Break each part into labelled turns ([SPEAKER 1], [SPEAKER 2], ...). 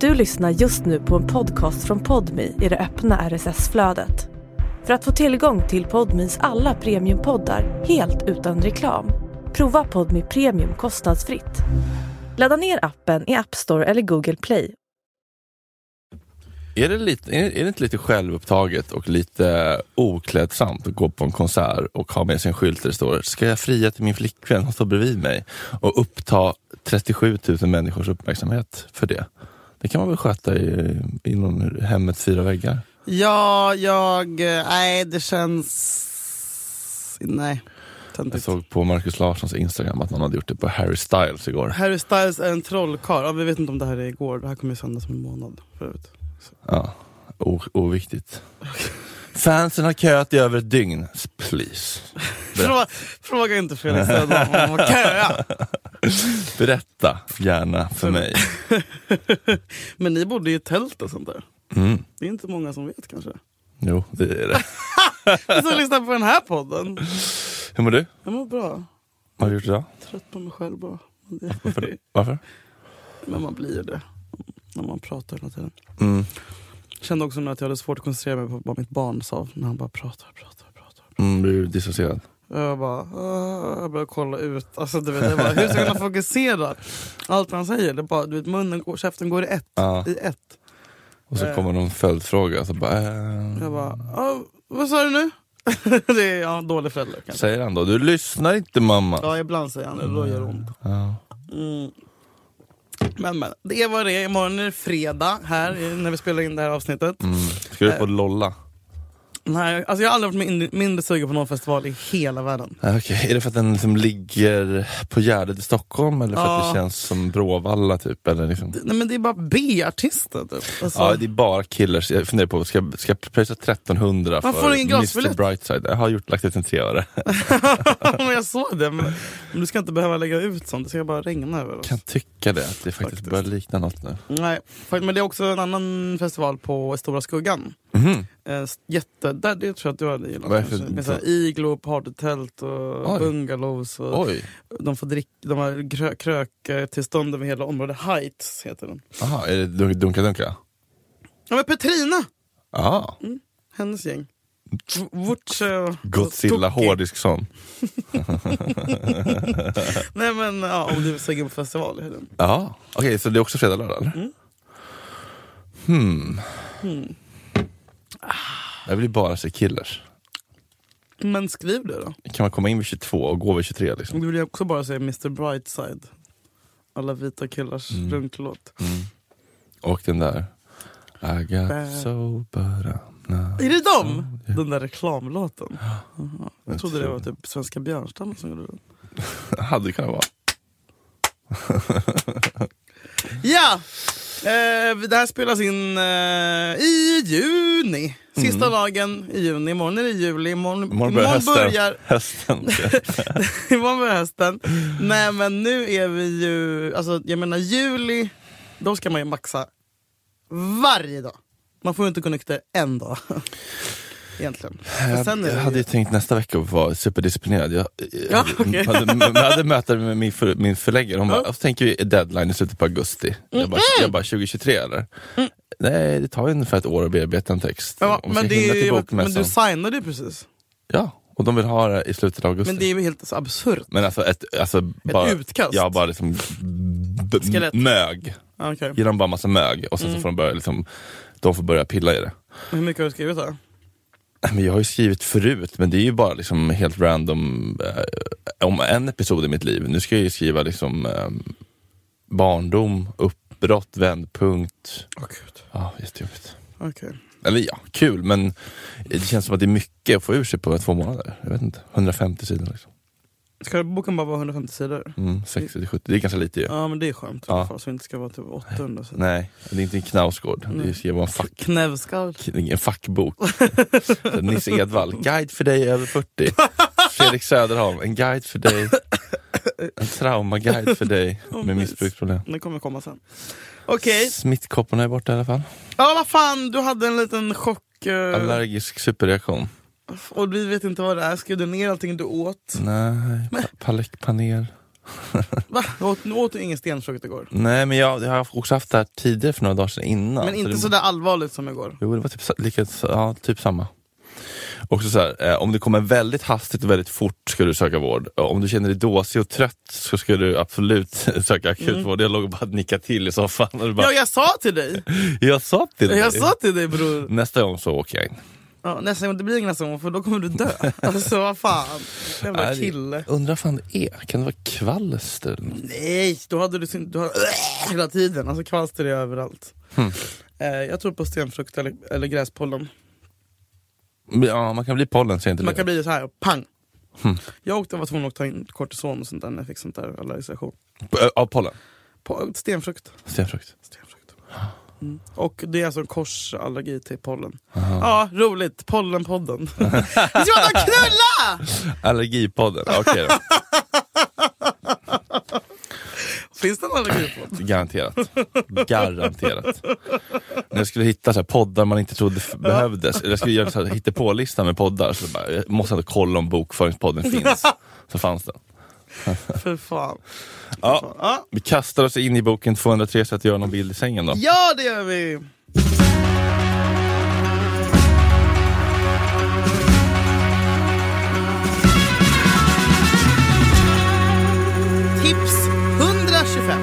[SPEAKER 1] Du lyssnar just nu på en podcast från Podmi i det öppna RSS-flödet. För att få tillgång till Podmis alla premiumpoddar helt utan reklam, prova Podmi Premium kostnadsfritt. Ladda ner appen i App Store eller Google Play.
[SPEAKER 2] Är det, lite, är, är det inte lite självupptaget och lite oklädsamt att gå på en konsert och ha med sig en skylt där det står “Ska jag fria till min flickvän?” Hon står bredvid mig och uppta 37 000 människors uppmärksamhet för det. Det kan man väl sköta i, inom hemmets fyra väggar?
[SPEAKER 3] Ja, jag... eh, Nej, det känns... Nej.
[SPEAKER 2] Jag
[SPEAKER 3] Töntigt.
[SPEAKER 2] såg på Markus Larssons Instagram att någon hade gjort det på Harry Styles igår.
[SPEAKER 3] Harry Styles är en trollkarl. Ja, vi vet inte om det här är igår. Det här kommer ju sändas om en månad förut.
[SPEAKER 2] Ja, o- oviktigt. Fansen har köat i över ett dygn. Please.
[SPEAKER 3] Frå, fråga inte Fredrik Söderholm om att köa.
[SPEAKER 2] Berätta gärna för mig.
[SPEAKER 3] Men ni bodde ju i tält och sånt där.
[SPEAKER 2] Mm.
[SPEAKER 3] Det är inte många som vet kanske.
[SPEAKER 2] Jo, det är det.
[SPEAKER 3] Vi som lyssnar på den här podden.
[SPEAKER 2] Hur mår du?
[SPEAKER 3] Jag mår bra.
[SPEAKER 2] Vad har du gjort idag?
[SPEAKER 3] Trött på mig själv bara. Men
[SPEAKER 2] Varför?
[SPEAKER 3] det-
[SPEAKER 2] det? Varför?
[SPEAKER 3] Men man blir ju det. När man pratar hela tiden.
[SPEAKER 2] Mm.
[SPEAKER 3] Kände också nu att jag hade svårt att koncentrera mig på vad mitt barn sa när han bara pratar, pratar, pratar.
[SPEAKER 2] Mm, blir du dissocierad?
[SPEAKER 3] Jag bara, "Ah", jag började kolla ut. Alltså, du vet, jag bara, hur ska jag kunna fokusera? Allt vad han säger, det är bara, du vet, munnen går, käften går i ett.
[SPEAKER 2] Ja.
[SPEAKER 3] I ett.
[SPEAKER 2] Och
[SPEAKER 3] Eh.
[SPEAKER 2] så kommer någon följdfråga. Så bara, eh,
[SPEAKER 3] Jag bara, "Ah, vad sa du nu? det är ja, dålig förälder kanske.
[SPEAKER 2] Säger han då, du lyssnar inte mamma.
[SPEAKER 3] Ja, ibland säger han det, då gör det ont.
[SPEAKER 2] Ja.
[SPEAKER 3] Mm. Men men, det är vad det är. Imorgon är det fredag här eh, när vi spelar in det här avsnittet.
[SPEAKER 2] Mm. Ska du på Lolla?
[SPEAKER 3] Nej, alltså jag har aldrig varit min- mindre sugen på någon festival i hela världen.
[SPEAKER 2] Ah, Okej, är det för att den liksom ligger på Gärdet i Stockholm eller för att
[SPEAKER 3] Ja.
[SPEAKER 2] det känns som Bråvalla typ? Eller liksom?
[SPEAKER 3] Nej, men det är bara B-artister typ. Alltså,
[SPEAKER 2] Ja, det är bara killers. Jag funderar på, ska, ska jag pröjsa 1300
[SPEAKER 3] Man
[SPEAKER 2] för
[SPEAKER 3] får ingen
[SPEAKER 2] Mr
[SPEAKER 3] glasbiljett.
[SPEAKER 2] Brightside? Jag har gjort, lagt ut en treöre.
[SPEAKER 3] men jag såg det. Men, men du ska inte behöva lägga ut sånt. Det ska bara regna över oss.
[SPEAKER 2] kan tycka det, att det faktiskt,
[SPEAKER 3] Faktiskt.
[SPEAKER 2] börjar likna något nu.
[SPEAKER 3] Nej, fakt- men det är också en annan festival på Stora Skuggan.
[SPEAKER 2] Mhm.
[SPEAKER 3] Eh, s- jätte, där, det tror jag att du hade gillat.
[SPEAKER 2] Vad är det för-
[SPEAKER 3] kanske. Med så här iglo, partytält och
[SPEAKER 2] Oj.
[SPEAKER 3] bungalows. Och
[SPEAKER 2] Oj,
[SPEAKER 3] De får dricka, de har krö, kröktillstånd över hela området. Heights heter den.
[SPEAKER 2] Aha, är det dun- Dunka Dunka?
[SPEAKER 3] Ja men Petrina!
[SPEAKER 2] Ja,
[SPEAKER 3] Hennes gäng. V- eh, Vutche och...
[SPEAKER 2] Godzilla
[SPEAKER 3] Toki.
[SPEAKER 2] Hårdisksson.
[SPEAKER 3] Nej men ja, om du är sugen på festival i helgen.
[SPEAKER 2] Ja, okej, så det är också fredag, lördag eller?
[SPEAKER 3] Mm.
[SPEAKER 2] Hmm. Jag vill ju bara se killers.
[SPEAKER 3] Men skriv det då.
[SPEAKER 2] Kan man komma in vid 22 och gå vid 23 liksom?
[SPEAKER 3] Du vill ju också bara säga Mr Brightside. Alla vita killars
[SPEAKER 2] Mm.
[SPEAKER 3] runklåt.
[SPEAKER 2] Och den där I got so but I'm not.
[SPEAKER 3] Är det dem? Den där reklamlåten. Jaha. Jag
[SPEAKER 2] Jag
[SPEAKER 3] trodde det
[SPEAKER 2] tror
[SPEAKER 3] var
[SPEAKER 2] det.
[SPEAKER 3] typ Svenska Björnstammen som gjorde den.
[SPEAKER 2] hade kunnat vara.
[SPEAKER 3] Ja! Eh, det här spelas in eh, i juni. Sista dagen i juni. Imorgon är det juli. Imorgon,
[SPEAKER 2] Mm. Imorgon börjar hösten.
[SPEAKER 3] börjar,
[SPEAKER 2] hösten.
[SPEAKER 3] imorgon börjar hösten. Nej men nu är vi ju... Alltså, jag menar juli, då ska man ju maxa varje dag. Man får ju inte gå nykter en dag. Egentligen. För sen är
[SPEAKER 2] Eh, jag
[SPEAKER 3] det
[SPEAKER 2] hade
[SPEAKER 3] ju,
[SPEAKER 2] ju tänkt nästa vecka vara superdisciplinerad. Jag,
[SPEAKER 3] Ja,
[SPEAKER 2] jag,
[SPEAKER 3] okej.
[SPEAKER 2] hade, jag hade möte med min, för, min förläggare, hon bara,
[SPEAKER 3] Ja.
[SPEAKER 2] "Och så tänker vi deadline i slutet på augusti. Jag bara, jag bara 2023 eller? Nej, det tar ju ungefär ett år att bearbeta en text.
[SPEAKER 3] Mm. Ja,
[SPEAKER 2] Om vi
[SPEAKER 3] men,
[SPEAKER 2] ska
[SPEAKER 3] det
[SPEAKER 2] hinna
[SPEAKER 3] är
[SPEAKER 2] till
[SPEAKER 3] ju, men
[SPEAKER 2] bokmässan.
[SPEAKER 3] du signade ju precis.
[SPEAKER 2] Ja, och de vill ha det i slutet av augusti.
[SPEAKER 3] Men det är ju helt så absurt.
[SPEAKER 2] Men alltså ett, alltså bara,
[SPEAKER 3] utkast?
[SPEAKER 2] Ja, bara liksom b-
[SPEAKER 3] Skelett. Mm.
[SPEAKER 2] mög.
[SPEAKER 3] Ah, okej.
[SPEAKER 2] Ge dem bara massa mög och sen så får de börja, liksom, de får börja pilla i det.
[SPEAKER 3] Hur mycket har du skrivit då?
[SPEAKER 2] Nej, Men jag har ju skrivit förut, men det är ju bara liksom helt random eh, om en episod i mitt liv. Nu ska jag ju skriva liksom eh, barndom, uppbrott, vändpunkt.
[SPEAKER 3] Åh gud.
[SPEAKER 2] Ja, jättejobbigt.
[SPEAKER 3] Okej.
[SPEAKER 2] Eller ja, kul, men det känns som att det är mycket att få ur sig på två månader. Jag vet inte, 150 sidor liksom.
[SPEAKER 3] Ska boken bara vara 150 sidor?
[SPEAKER 2] Mm, 60 till 70, det är ganska lite ju.
[SPEAKER 3] Ja men det är skönt.
[SPEAKER 2] Ja.
[SPEAKER 3] Ja. Så det inte ska vara typ 800 sidor.
[SPEAKER 2] Nej, det är inte en knausgård. Det är
[SPEAKER 3] Nej.
[SPEAKER 2] skriva en, fack,
[SPEAKER 3] Knävskall.
[SPEAKER 2] en fackbok. Så Nisse Edwall, guide för dig över 40. Fredrik Söderholm, en guide för dig. En traumaguide för dig med missbruksproblem.
[SPEAKER 3] Den kommer komma sen. Okej.
[SPEAKER 2] Smittkopporna är borta i alla fall.
[SPEAKER 3] Ja vad fan, du hade en liten chock. eh,
[SPEAKER 2] Allergisk superreaktion.
[SPEAKER 3] och vi vet inte vad det är. Skrev du ner allting du åt?
[SPEAKER 2] Nej, pa- palekpanel.
[SPEAKER 3] Va? Jag åt, nu åt du ingen stenfrukt igår.
[SPEAKER 2] Nej, men jag, jag har också haft det här tidigare för några dagar sedan innan.
[SPEAKER 3] Men inte
[SPEAKER 2] det,
[SPEAKER 3] sådär allvarligt som igår.
[SPEAKER 2] Jo, det var typ, sa- lika, ja, typ samma. Också så här, eh, om det kommer väldigt hastigt och väldigt fort ska du söka vård. Och Om du känner dig dåsig och trött så ska du absolut söka
[SPEAKER 3] Mm.
[SPEAKER 2] akutvård. Jag låg och bara nickade till i soffan. Och du bara,
[SPEAKER 3] Ja, jag sa till dig!
[SPEAKER 2] jag sa till dig.
[SPEAKER 3] Jag sa till dig bror.
[SPEAKER 2] Nästa gång så åker jag in.
[SPEAKER 3] Ja, nästa gång, det blir ingen nästa gång för då kommer du dö. Alltså vad fan. Jävla
[SPEAKER 2] Nej, det-
[SPEAKER 3] kille.
[SPEAKER 2] Undrar vad fan det är? Kan det vara kvalster? eller något?
[SPEAKER 3] Nej, då hade du, sin, du hade, hela tiden. Alltså kvalster är överallt.
[SPEAKER 2] Hmm.
[SPEAKER 3] Eh, jag tror på stenfrukt eller, eller gräspollen.
[SPEAKER 2] Ja, man kan bli pollen sent i
[SPEAKER 3] Man kan
[SPEAKER 2] livet.
[SPEAKER 3] bli så här, pang!
[SPEAKER 2] Hmm.
[SPEAKER 3] Jag åkte, var tvungen att ta in kortison och sånt där när jag fick sånt där allergisation.
[SPEAKER 2] B- Äh, Av pollen?
[SPEAKER 3] På, stenfrukt.
[SPEAKER 2] Stenfrukt?
[SPEAKER 3] stenfrukt. Mm. Och det är alltså en korsallergi till pollen. Ja, roligt. Pollenpodden. Vi ska prata om knulla!
[SPEAKER 2] Allergipodden, okej då.
[SPEAKER 3] Finns det en allergipodd?
[SPEAKER 2] Garanterat. Garanterat. När jag skulle hitta så här poddar man inte trodde f- behövdes, eller jag skulle göra så här hittepålista med poddar, så bara, jag måste ändå kolla om Bokföringspodden finns. Så fanns den.
[SPEAKER 3] För fan.
[SPEAKER 2] Ja,
[SPEAKER 3] Ja.
[SPEAKER 2] vi kastar oss in i boken 203 så att göra någon bild i sängen då.
[SPEAKER 3] ja, det gör vi! Tips 125.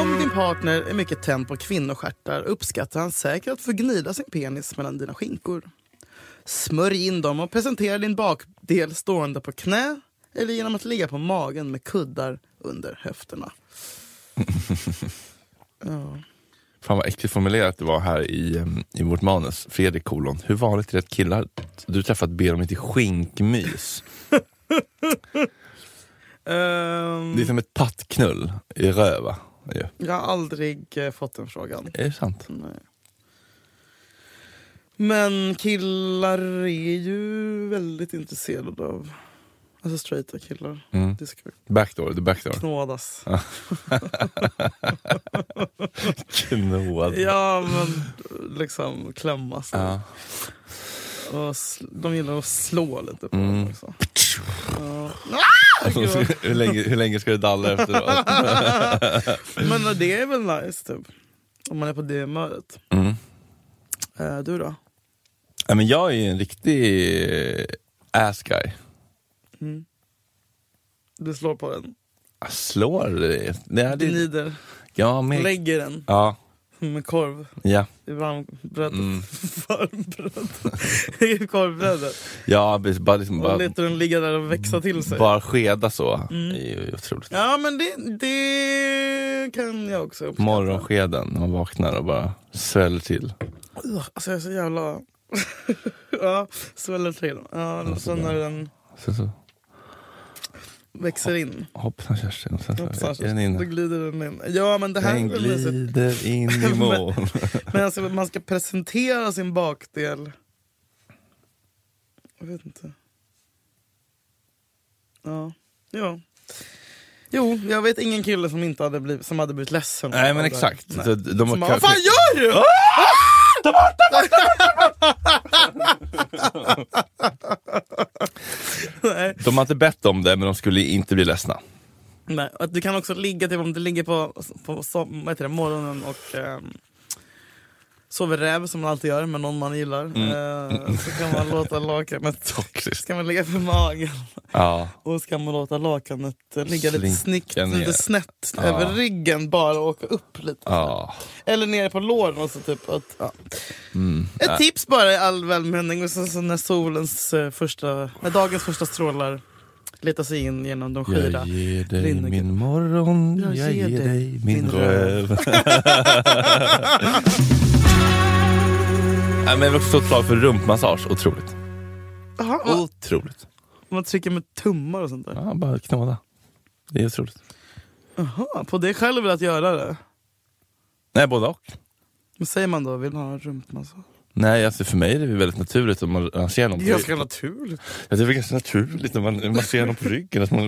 [SPEAKER 3] Om din partner är mycket tänd på kvinnostjärtar uppskattar han säkert att få gnida sin penis mellan dina skinkor. Smörj in dem och presentera din bakdel stående på knä eller genom att ligga på magen med kuddar under höfterna. Ja.
[SPEAKER 2] Fan vad äckligt formulerat det var här i, em, i vårt manus. Fredrik kolon, hur vanligt är det att killar du träffat ber om lite skinkmys?
[SPEAKER 3] Ehm,
[SPEAKER 2] Det är som ett pattknull i röva. Ja.
[SPEAKER 3] jag har aldrig eh, fått den frågan.
[SPEAKER 2] Är det sant?
[SPEAKER 3] Nej. Men killar är ju väldigt intresserade av alltså straighta killar.
[SPEAKER 2] Mm.
[SPEAKER 3] Det ska
[SPEAKER 2] Backdoor, the backdoor.
[SPEAKER 3] knådas.
[SPEAKER 2] Knåd.
[SPEAKER 3] Ja, men liksom klämmas.
[SPEAKER 2] Ja.
[SPEAKER 3] Och sl- de gillar att slå lite på
[SPEAKER 2] Mm.
[SPEAKER 3] dem också. Ja. Ah,
[SPEAKER 2] Alltså,
[SPEAKER 3] gud.
[SPEAKER 2] hur, länge, hur länge ska du dalla efteråt?
[SPEAKER 3] Men eh, det är väl nice typ. Om man är på det humöret.
[SPEAKER 2] Mm.
[SPEAKER 3] Eh, du då?
[SPEAKER 2] Ja, men jag är ju en riktig eh, ass guy.
[SPEAKER 3] Du slår på den,
[SPEAKER 2] Jag slår det? Nej, det
[SPEAKER 3] gnider,
[SPEAKER 2] ja, men,
[SPEAKER 3] lägger den
[SPEAKER 2] ja,
[SPEAKER 3] med korv
[SPEAKER 2] ja,
[SPEAKER 3] i varmbrödet.
[SPEAKER 2] Mm.
[SPEAKER 3] Varmbrödet? I korvbrödet.
[SPEAKER 2] ja, precis, bara, liksom,
[SPEAKER 3] Och
[SPEAKER 2] bara,
[SPEAKER 3] låter den ligga där och växa till sig.
[SPEAKER 2] bara skeda så. Det är ju otroligt.
[SPEAKER 3] Ja men det, det kan jag också uppskatta.
[SPEAKER 2] Morgonskeden, när man vaknar och bara sväljer till.
[SPEAKER 3] Ugh, Alltså jag är så jävla... ja, sväller till. Ja, sen när den
[SPEAKER 2] Sen så
[SPEAKER 3] växer in.
[SPEAKER 2] hoppsan Kerstin, och sen så
[SPEAKER 3] Hoppsan,
[SPEAKER 2] är den
[SPEAKER 3] Då
[SPEAKER 2] inne.
[SPEAKER 3] glider den in. Ja men det här
[SPEAKER 2] Den
[SPEAKER 3] är väl mysigt.
[SPEAKER 2] glider in i moln.
[SPEAKER 3] Men alltså man ska presentera sin bakdel. Jag vet inte. Ja. Jo. Jo, jag vet ingen kille som inte hade blivit, som hade blivit ledsen.
[SPEAKER 2] Nej men
[SPEAKER 3] Eller-
[SPEAKER 2] exakt.
[SPEAKER 3] Nej.
[SPEAKER 2] Så De
[SPEAKER 3] Som
[SPEAKER 2] har Ah!
[SPEAKER 3] bara, vad
[SPEAKER 2] kanske-
[SPEAKER 3] fan gör du? Nej.
[SPEAKER 2] de har inte bett om det men de skulle inte bli ledsna.
[SPEAKER 3] Nej. och att Du kan också ligga, typ, om du ligger på, på som, vad heter det, morgonen och ehm, sover räv som man alltid gör med någon man gillar.
[SPEAKER 2] Mm.
[SPEAKER 3] Eh, så kan man låta lakanet
[SPEAKER 2] Toxiskt.
[SPEAKER 3] Ska man ligga på magen
[SPEAKER 2] Ja.
[SPEAKER 3] och ska man låta lakanet eh, ligga lite
[SPEAKER 2] Slinka
[SPEAKER 3] snyggt,
[SPEAKER 2] ner.
[SPEAKER 3] lite snett
[SPEAKER 2] Ja.
[SPEAKER 3] över ryggen bara och åka upp lite.
[SPEAKER 2] ja.
[SPEAKER 3] Eller nere på låren. Och så typ att, ja.
[SPEAKER 2] Mm.
[SPEAKER 3] Ett tips bara i all välmening. Och sen så när solens eh, första, när dagens första strålar letar sig in genom de skyra.
[SPEAKER 2] Jag ger dig
[SPEAKER 3] Rinner.
[SPEAKER 2] min morgon, jag, ger, dig min röv. Nej, men jag vill också slå ett slag för rumpmassage, otroligt.
[SPEAKER 3] Jaha, va?
[SPEAKER 2] Otroligt.
[SPEAKER 3] man trycker med tummar och sånt där.
[SPEAKER 2] Ja, bara knåda. Det är otroligt.
[SPEAKER 3] Jaha, på det själv vill att göra det.
[SPEAKER 2] Nej, både och.
[SPEAKER 3] Vad säger man då? Vill ha en rumpmassage?
[SPEAKER 2] Nej, alltså för mig är det väldigt naturligt om man masserar någon på ryggen.
[SPEAKER 3] Ganska naturligt.
[SPEAKER 2] Ja, Det är väl ganska naturligt när man masserar någon på ryggen. Att man,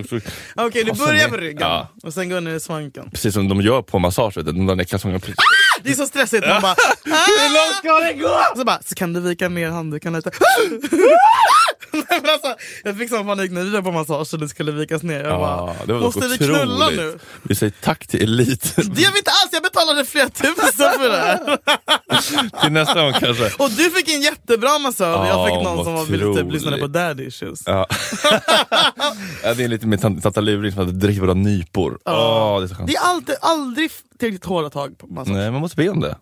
[SPEAKER 3] Okej, du
[SPEAKER 2] Och sen
[SPEAKER 3] börjar
[SPEAKER 2] är-
[SPEAKER 3] på ryggen
[SPEAKER 2] Alltså, Ja.
[SPEAKER 3] och sen går ner i svanken.
[SPEAKER 2] precis som de gör på massage, vet du, de där ner kalsongerna. precis.
[SPEAKER 3] Det är så stressigt. Man bara, Hur långt ska det gå? Så bara, så kan du vika ner handduken lite. Nej, men alltså, jag fick sån panik när vi var på massage och det skulle vikas ner. Jag
[SPEAKER 2] Ja, det
[SPEAKER 3] bara,
[SPEAKER 2] var
[SPEAKER 3] måste vi knulla
[SPEAKER 2] otroligt.
[SPEAKER 3] nu?
[SPEAKER 2] Vi säger tack till Elit.
[SPEAKER 3] Det gör vi inte alls, jag betalade flera tusen för det här.
[SPEAKER 2] till nästa gång kanske.
[SPEAKER 3] Och du fick en jättebra massör och jag
[SPEAKER 2] Ja,
[SPEAKER 3] fick någon
[SPEAKER 2] vad
[SPEAKER 3] som var ville typ
[SPEAKER 2] otroligt.
[SPEAKER 3] lyssnade på daddy issues.
[SPEAKER 2] Ja. ja, det är lite med tant- tanta Luring som hade dricker våra nypor.
[SPEAKER 3] Ja.
[SPEAKER 2] Ja. det är så skönt.
[SPEAKER 3] Det är alltid, aldrig tillräckligt hårda tag på massage.
[SPEAKER 2] Nej, man måste be om det.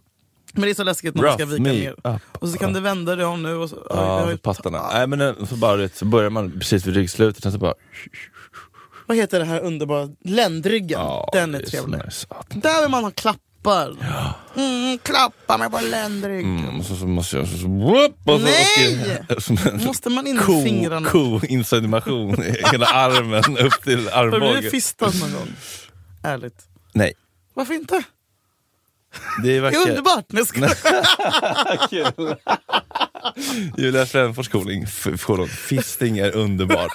[SPEAKER 3] Men det är så läskigt när man ska
[SPEAKER 2] Rough
[SPEAKER 3] vika
[SPEAKER 2] me
[SPEAKER 3] ner.
[SPEAKER 2] up.
[SPEAKER 3] Och så kan du vända dig om nu. Och så, oj, det
[SPEAKER 2] Ja,
[SPEAKER 3] har
[SPEAKER 2] för
[SPEAKER 3] ju-
[SPEAKER 2] pattarna. Nej, men eh, så, bara, du vet, så börjar man precis vid ryggslutet, sen så
[SPEAKER 3] Mm.
[SPEAKER 2] bara...
[SPEAKER 3] Vad heter det här underbara? Ländryggen.
[SPEAKER 2] Ja,
[SPEAKER 3] Den är
[SPEAKER 2] det så
[SPEAKER 3] trevlig.
[SPEAKER 2] nice. Ja,
[SPEAKER 3] Där vill man ha klappar. Mm, klappa mig på ländryggen.
[SPEAKER 2] Mm, och så, så måste jag... Så, så, whoop, och så,
[SPEAKER 3] Nej!
[SPEAKER 2] Och, som en
[SPEAKER 3] Måste man in med
[SPEAKER 2] ko,
[SPEAKER 3] fingrarna?
[SPEAKER 2] ko-insemination i hela armen upp till
[SPEAKER 3] Har du blivit
[SPEAKER 2] armbågen.
[SPEAKER 3] fistad någon gång? Ärligt.
[SPEAKER 2] Nej,
[SPEAKER 3] Varför inte?
[SPEAKER 2] det
[SPEAKER 3] Det är
[SPEAKER 2] verkar...
[SPEAKER 3] underbart. Men jag skojar.
[SPEAKER 2] Kul. Julia Fränfors koning, f- kolon, fisting är underbart.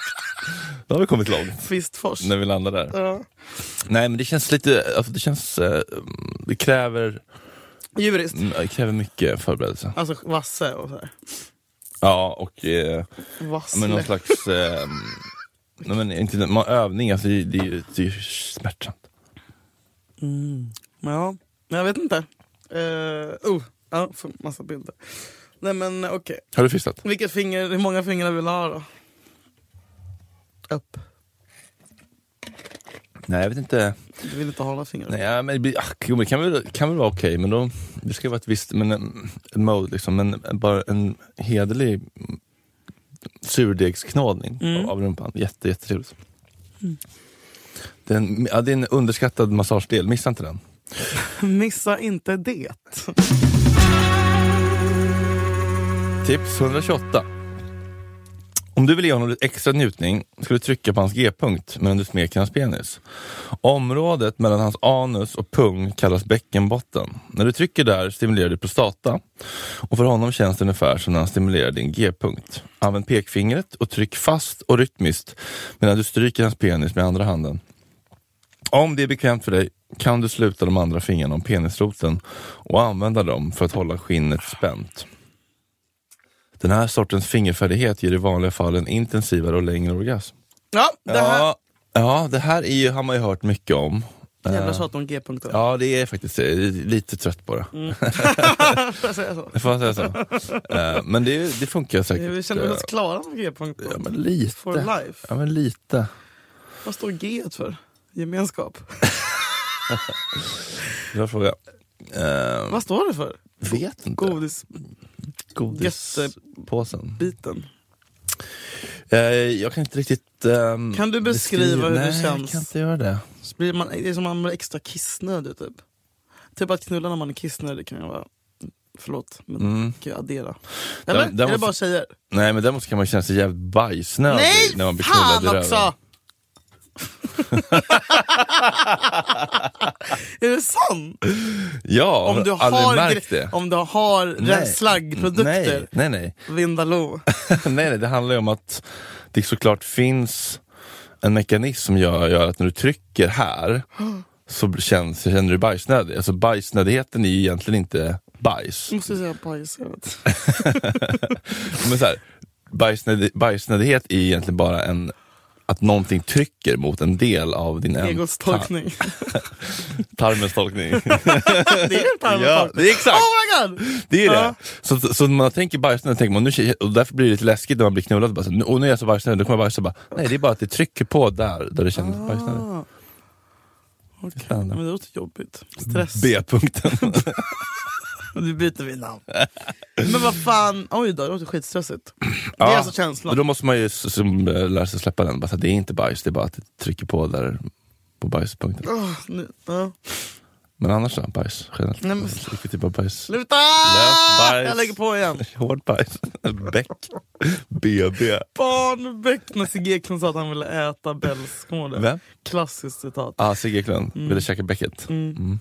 [SPEAKER 2] Då har vi kommit långt
[SPEAKER 3] Fistfors.
[SPEAKER 2] när vi landar där.
[SPEAKER 3] Ja.
[SPEAKER 2] Nej men det känns lite, alltså det känns, eh, mm, det kräver,
[SPEAKER 3] Jurist.
[SPEAKER 2] mm, det kräver mycket förberedelse.
[SPEAKER 3] Alltså vasse och sådär.
[SPEAKER 2] Ja och eh,
[SPEAKER 3] Vassle.
[SPEAKER 2] men någon slags, eh, nej, men inte, man, övning, alltså det, det, är ju- det är ju smärtsamt.
[SPEAKER 3] Mm. Ja, men jag vet inte. Eh, oh, ja, får massa bilder. Nej men okej.
[SPEAKER 2] Har du fistat?
[SPEAKER 3] Vilket finger, hur många fingrar vill du ha då? Upp.
[SPEAKER 2] Nej jag vet inte.
[SPEAKER 3] Du vill inte ha några fingrar?
[SPEAKER 2] Nej, men, det blir- ah, jo, men det kan väl, kan väl vara okej, men då, det ska vara ett visst men, en, en mode, liksom, men bara en hederlig mm, surdegsknådning
[SPEAKER 3] Mm.
[SPEAKER 2] av, av rumpan. Jätte, jättetrevligt. Den, ja, det är en underskattad massagedel, missa inte den.
[SPEAKER 3] Missa inte det.
[SPEAKER 2] Tips 128. Om du vill ge honom lite extra njutning ska du trycka på hans g-punkt medan du smeker hans penis. Området mellan hans anus och pung kallas bäckenbotten. När du trycker där stimulerar du prostata och för honom känns det ungefär som när han stimulerar din g-punkt. Använd pekfingret och tryck fast och rytmiskt medan du stryker hans penis med andra handen. Om det är bekvämt för dig kan du sluta de andra fingrarna om penisroten och använda dem för att hålla skinnet spänt. Den här sortens fingerfärdighet ger i vanliga fall en intensivare och längre orgasm.
[SPEAKER 3] Ja, det här.
[SPEAKER 2] Ja, ja, det här är ju, har man ju hört mycket om.
[SPEAKER 3] Jävla
[SPEAKER 2] Eh,
[SPEAKER 3] tjat om g-punkter.
[SPEAKER 2] Ja, det är faktiskt det. Jag är lite trött på det.
[SPEAKER 3] Får jag säga så?
[SPEAKER 2] Får man säga så? Eh, men det, är- det funkar säkert.
[SPEAKER 3] Vi känner oss
[SPEAKER 2] eh,
[SPEAKER 3] klara med g-punkter.
[SPEAKER 2] Ja, men lite.
[SPEAKER 3] For life.
[SPEAKER 2] Ja, men lite.
[SPEAKER 3] Vad står g för? Gemenskap.
[SPEAKER 2] Bra fråga. Eh,
[SPEAKER 3] Vad står det för?
[SPEAKER 2] Vet inte.
[SPEAKER 3] Godisbiten.
[SPEAKER 2] Godispåsen. Eh, jag kan inte riktigt... ehm,
[SPEAKER 3] Kan du beskriva hur det
[SPEAKER 2] Nej, jag
[SPEAKER 3] känns?
[SPEAKER 2] kan inte göra det.
[SPEAKER 3] Så blir man, det är som att man blir extra kissnödig typ. Typ att knulla när man är kissnödig kan jag vara. Förlåt, men
[SPEAKER 2] Mm.
[SPEAKER 3] kan jag addera? Eller?
[SPEAKER 2] där
[SPEAKER 3] är det
[SPEAKER 2] måste-
[SPEAKER 3] bara tjejer?
[SPEAKER 2] Nej, men däremot kan man känna sig jävligt bajsnödig
[SPEAKER 3] Nej,
[SPEAKER 2] när man blir knullad i röven.
[SPEAKER 3] fan också! är det sant?
[SPEAKER 2] Ja,
[SPEAKER 3] Om du
[SPEAKER 2] har aldrig
[SPEAKER 3] har,
[SPEAKER 2] märkt
[SPEAKER 3] gre-
[SPEAKER 2] det.
[SPEAKER 3] om du har re-
[SPEAKER 2] Nej.
[SPEAKER 3] slaggprodukter,
[SPEAKER 2] Nej, nej, nej.
[SPEAKER 3] Vindaloo.
[SPEAKER 2] nej, nej. Det handlar ju om att det såklart finns en mekanism som gör, gör att när du trycker här så känns, känner du bajsnödig. Alltså bajsnödigheten är ju egentligen inte bajs.
[SPEAKER 3] Jag måste säga bajs. jag vet.
[SPEAKER 2] Men så här, bajsnödig, bajsnödighet är egentligen bara en att någonting trycker mot en del av din en-
[SPEAKER 3] Egons tolkning.
[SPEAKER 2] tar- tarmens tolkning.
[SPEAKER 3] det är en tarmens
[SPEAKER 2] ja,
[SPEAKER 3] tolkning.
[SPEAKER 2] det är exakt!
[SPEAKER 3] Oh my god!
[SPEAKER 2] Det är
[SPEAKER 3] Ja.
[SPEAKER 2] det. Så, så när man tänker bajsnödig, tänker man, nu, och därför blir det lite läskigt när man blir knullad. Bara, så, nu, och nu är jag så bajsnödig, då kommer jag bajsa. Bara, nej, det är bara att det trycker på där, där det känns bajsnödig.
[SPEAKER 3] Ah. Okej,
[SPEAKER 2] Spännande.
[SPEAKER 3] men det låter jobbigt. Stress.
[SPEAKER 2] B-punkten.
[SPEAKER 3] Nu byter vi namn. Men vad fan, oj då, det låter skitstressigt. Det är
[SPEAKER 2] Ja.
[SPEAKER 3] alltså känslan.
[SPEAKER 2] Och då måste man ju s- som, eh, lära sig släppa den. Bara, så, här, det är inte bajs, det är bara att det trycker på där på bajspunkten.
[SPEAKER 3] Åh, nu, ja.
[SPEAKER 2] Men annars då, bajs generellt.
[SPEAKER 3] Nej, men-
[SPEAKER 2] Vilken typ av bajs?
[SPEAKER 3] Sluta!
[SPEAKER 2] Lös bajs.
[SPEAKER 3] Jag lägger på igen.
[SPEAKER 2] Hård bajs. Bäck. BB.
[SPEAKER 3] Barnbäck när Sigge Eklund sa att han ville äta Bells. Kommer du ihåg det?
[SPEAKER 2] Vem?
[SPEAKER 3] Klassiskt citat.
[SPEAKER 2] Ah, Sigge Eklund.
[SPEAKER 3] Mm.
[SPEAKER 2] Ville käka bäcket.
[SPEAKER 3] Mm,
[SPEAKER 2] Mm.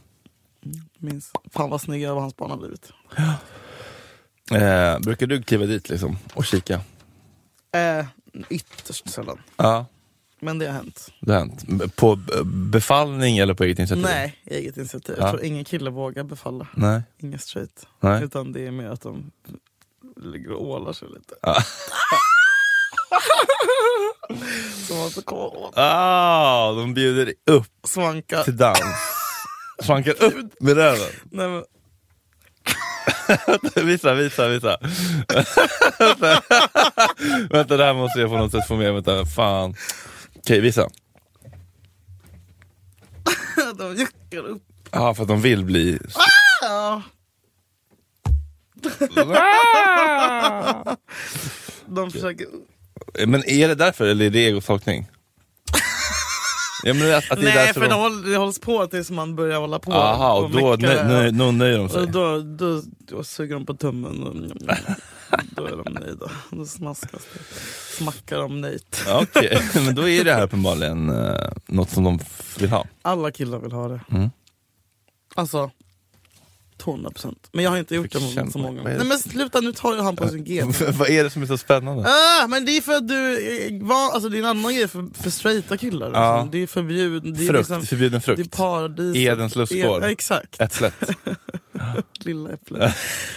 [SPEAKER 3] minns. Fan vad snygga vad hans barn har blivit.
[SPEAKER 2] Eh, brukar du kliva dit liksom och kika?
[SPEAKER 3] Eh, ytterst sällan.
[SPEAKER 2] Ja,
[SPEAKER 3] Men det har hänt.
[SPEAKER 2] det har hänt. På b- befallning eller på eget initiativ?
[SPEAKER 3] Nej, eget initiativ.
[SPEAKER 2] Ja.
[SPEAKER 3] Jag tror ingen kille vågar befalla.
[SPEAKER 2] Nej.
[SPEAKER 3] Inga straight.
[SPEAKER 2] Nej.
[SPEAKER 3] Utan det är mer att de ligger och ålar sig lite.
[SPEAKER 2] Ja.
[SPEAKER 3] Som var så kåt.
[SPEAKER 2] Ah, de bjuder upp
[SPEAKER 3] Svanka.
[SPEAKER 2] till dans. Svankar upp med röven.
[SPEAKER 3] Nej, men,
[SPEAKER 2] Visa, visa, visa. Vänta, det här måste jag på något sätt få med. Vänta, fan. Okej, visa.
[SPEAKER 3] de juckar upp.
[SPEAKER 2] Ja, för att de vill bli...
[SPEAKER 3] Ja. De försöker...
[SPEAKER 2] Men är det därför, eller är det egosakning? Ja, men att, att det är
[SPEAKER 3] Nej,
[SPEAKER 2] därför
[SPEAKER 3] för det,
[SPEAKER 2] de...
[SPEAKER 3] håll, det hålls på tills man börjar hålla på.
[SPEAKER 2] Aha, och då
[SPEAKER 3] mycket-
[SPEAKER 2] nö, nö, nö, nöjer de sig.
[SPEAKER 3] Och då, då, då suger de på tummen och då är de nöjda. Då smaskas det. Smackar de nöjt.
[SPEAKER 2] Ja, Okej, men då är det här uppenbarligen eh, något som de f- vill ha.
[SPEAKER 3] Alla killar vill ha det.
[SPEAKER 2] Mm.
[SPEAKER 3] Alltså, 200 procent. Men jag har inte gjort
[SPEAKER 2] Fick
[SPEAKER 3] det
[SPEAKER 2] känna-
[SPEAKER 3] mot så många.
[SPEAKER 2] vad är det? Äh.
[SPEAKER 3] Nej men sluta, nu tar ju han på sin G.
[SPEAKER 2] Vad är det som är så spännande?
[SPEAKER 3] Ah, men det är för att du eh, var, alltså det är en annan grej för, för straighta killar.
[SPEAKER 2] Ja.
[SPEAKER 3] Alltså. Det är förbjudet. Det är
[SPEAKER 2] Frukt,
[SPEAKER 3] liksom,
[SPEAKER 2] förbjuden
[SPEAKER 3] det är
[SPEAKER 2] frukt.
[SPEAKER 3] paradiset.
[SPEAKER 2] Edens lustgård.
[SPEAKER 3] Ja, exakt.
[SPEAKER 2] Äpplet.
[SPEAKER 3] lilla äpplet.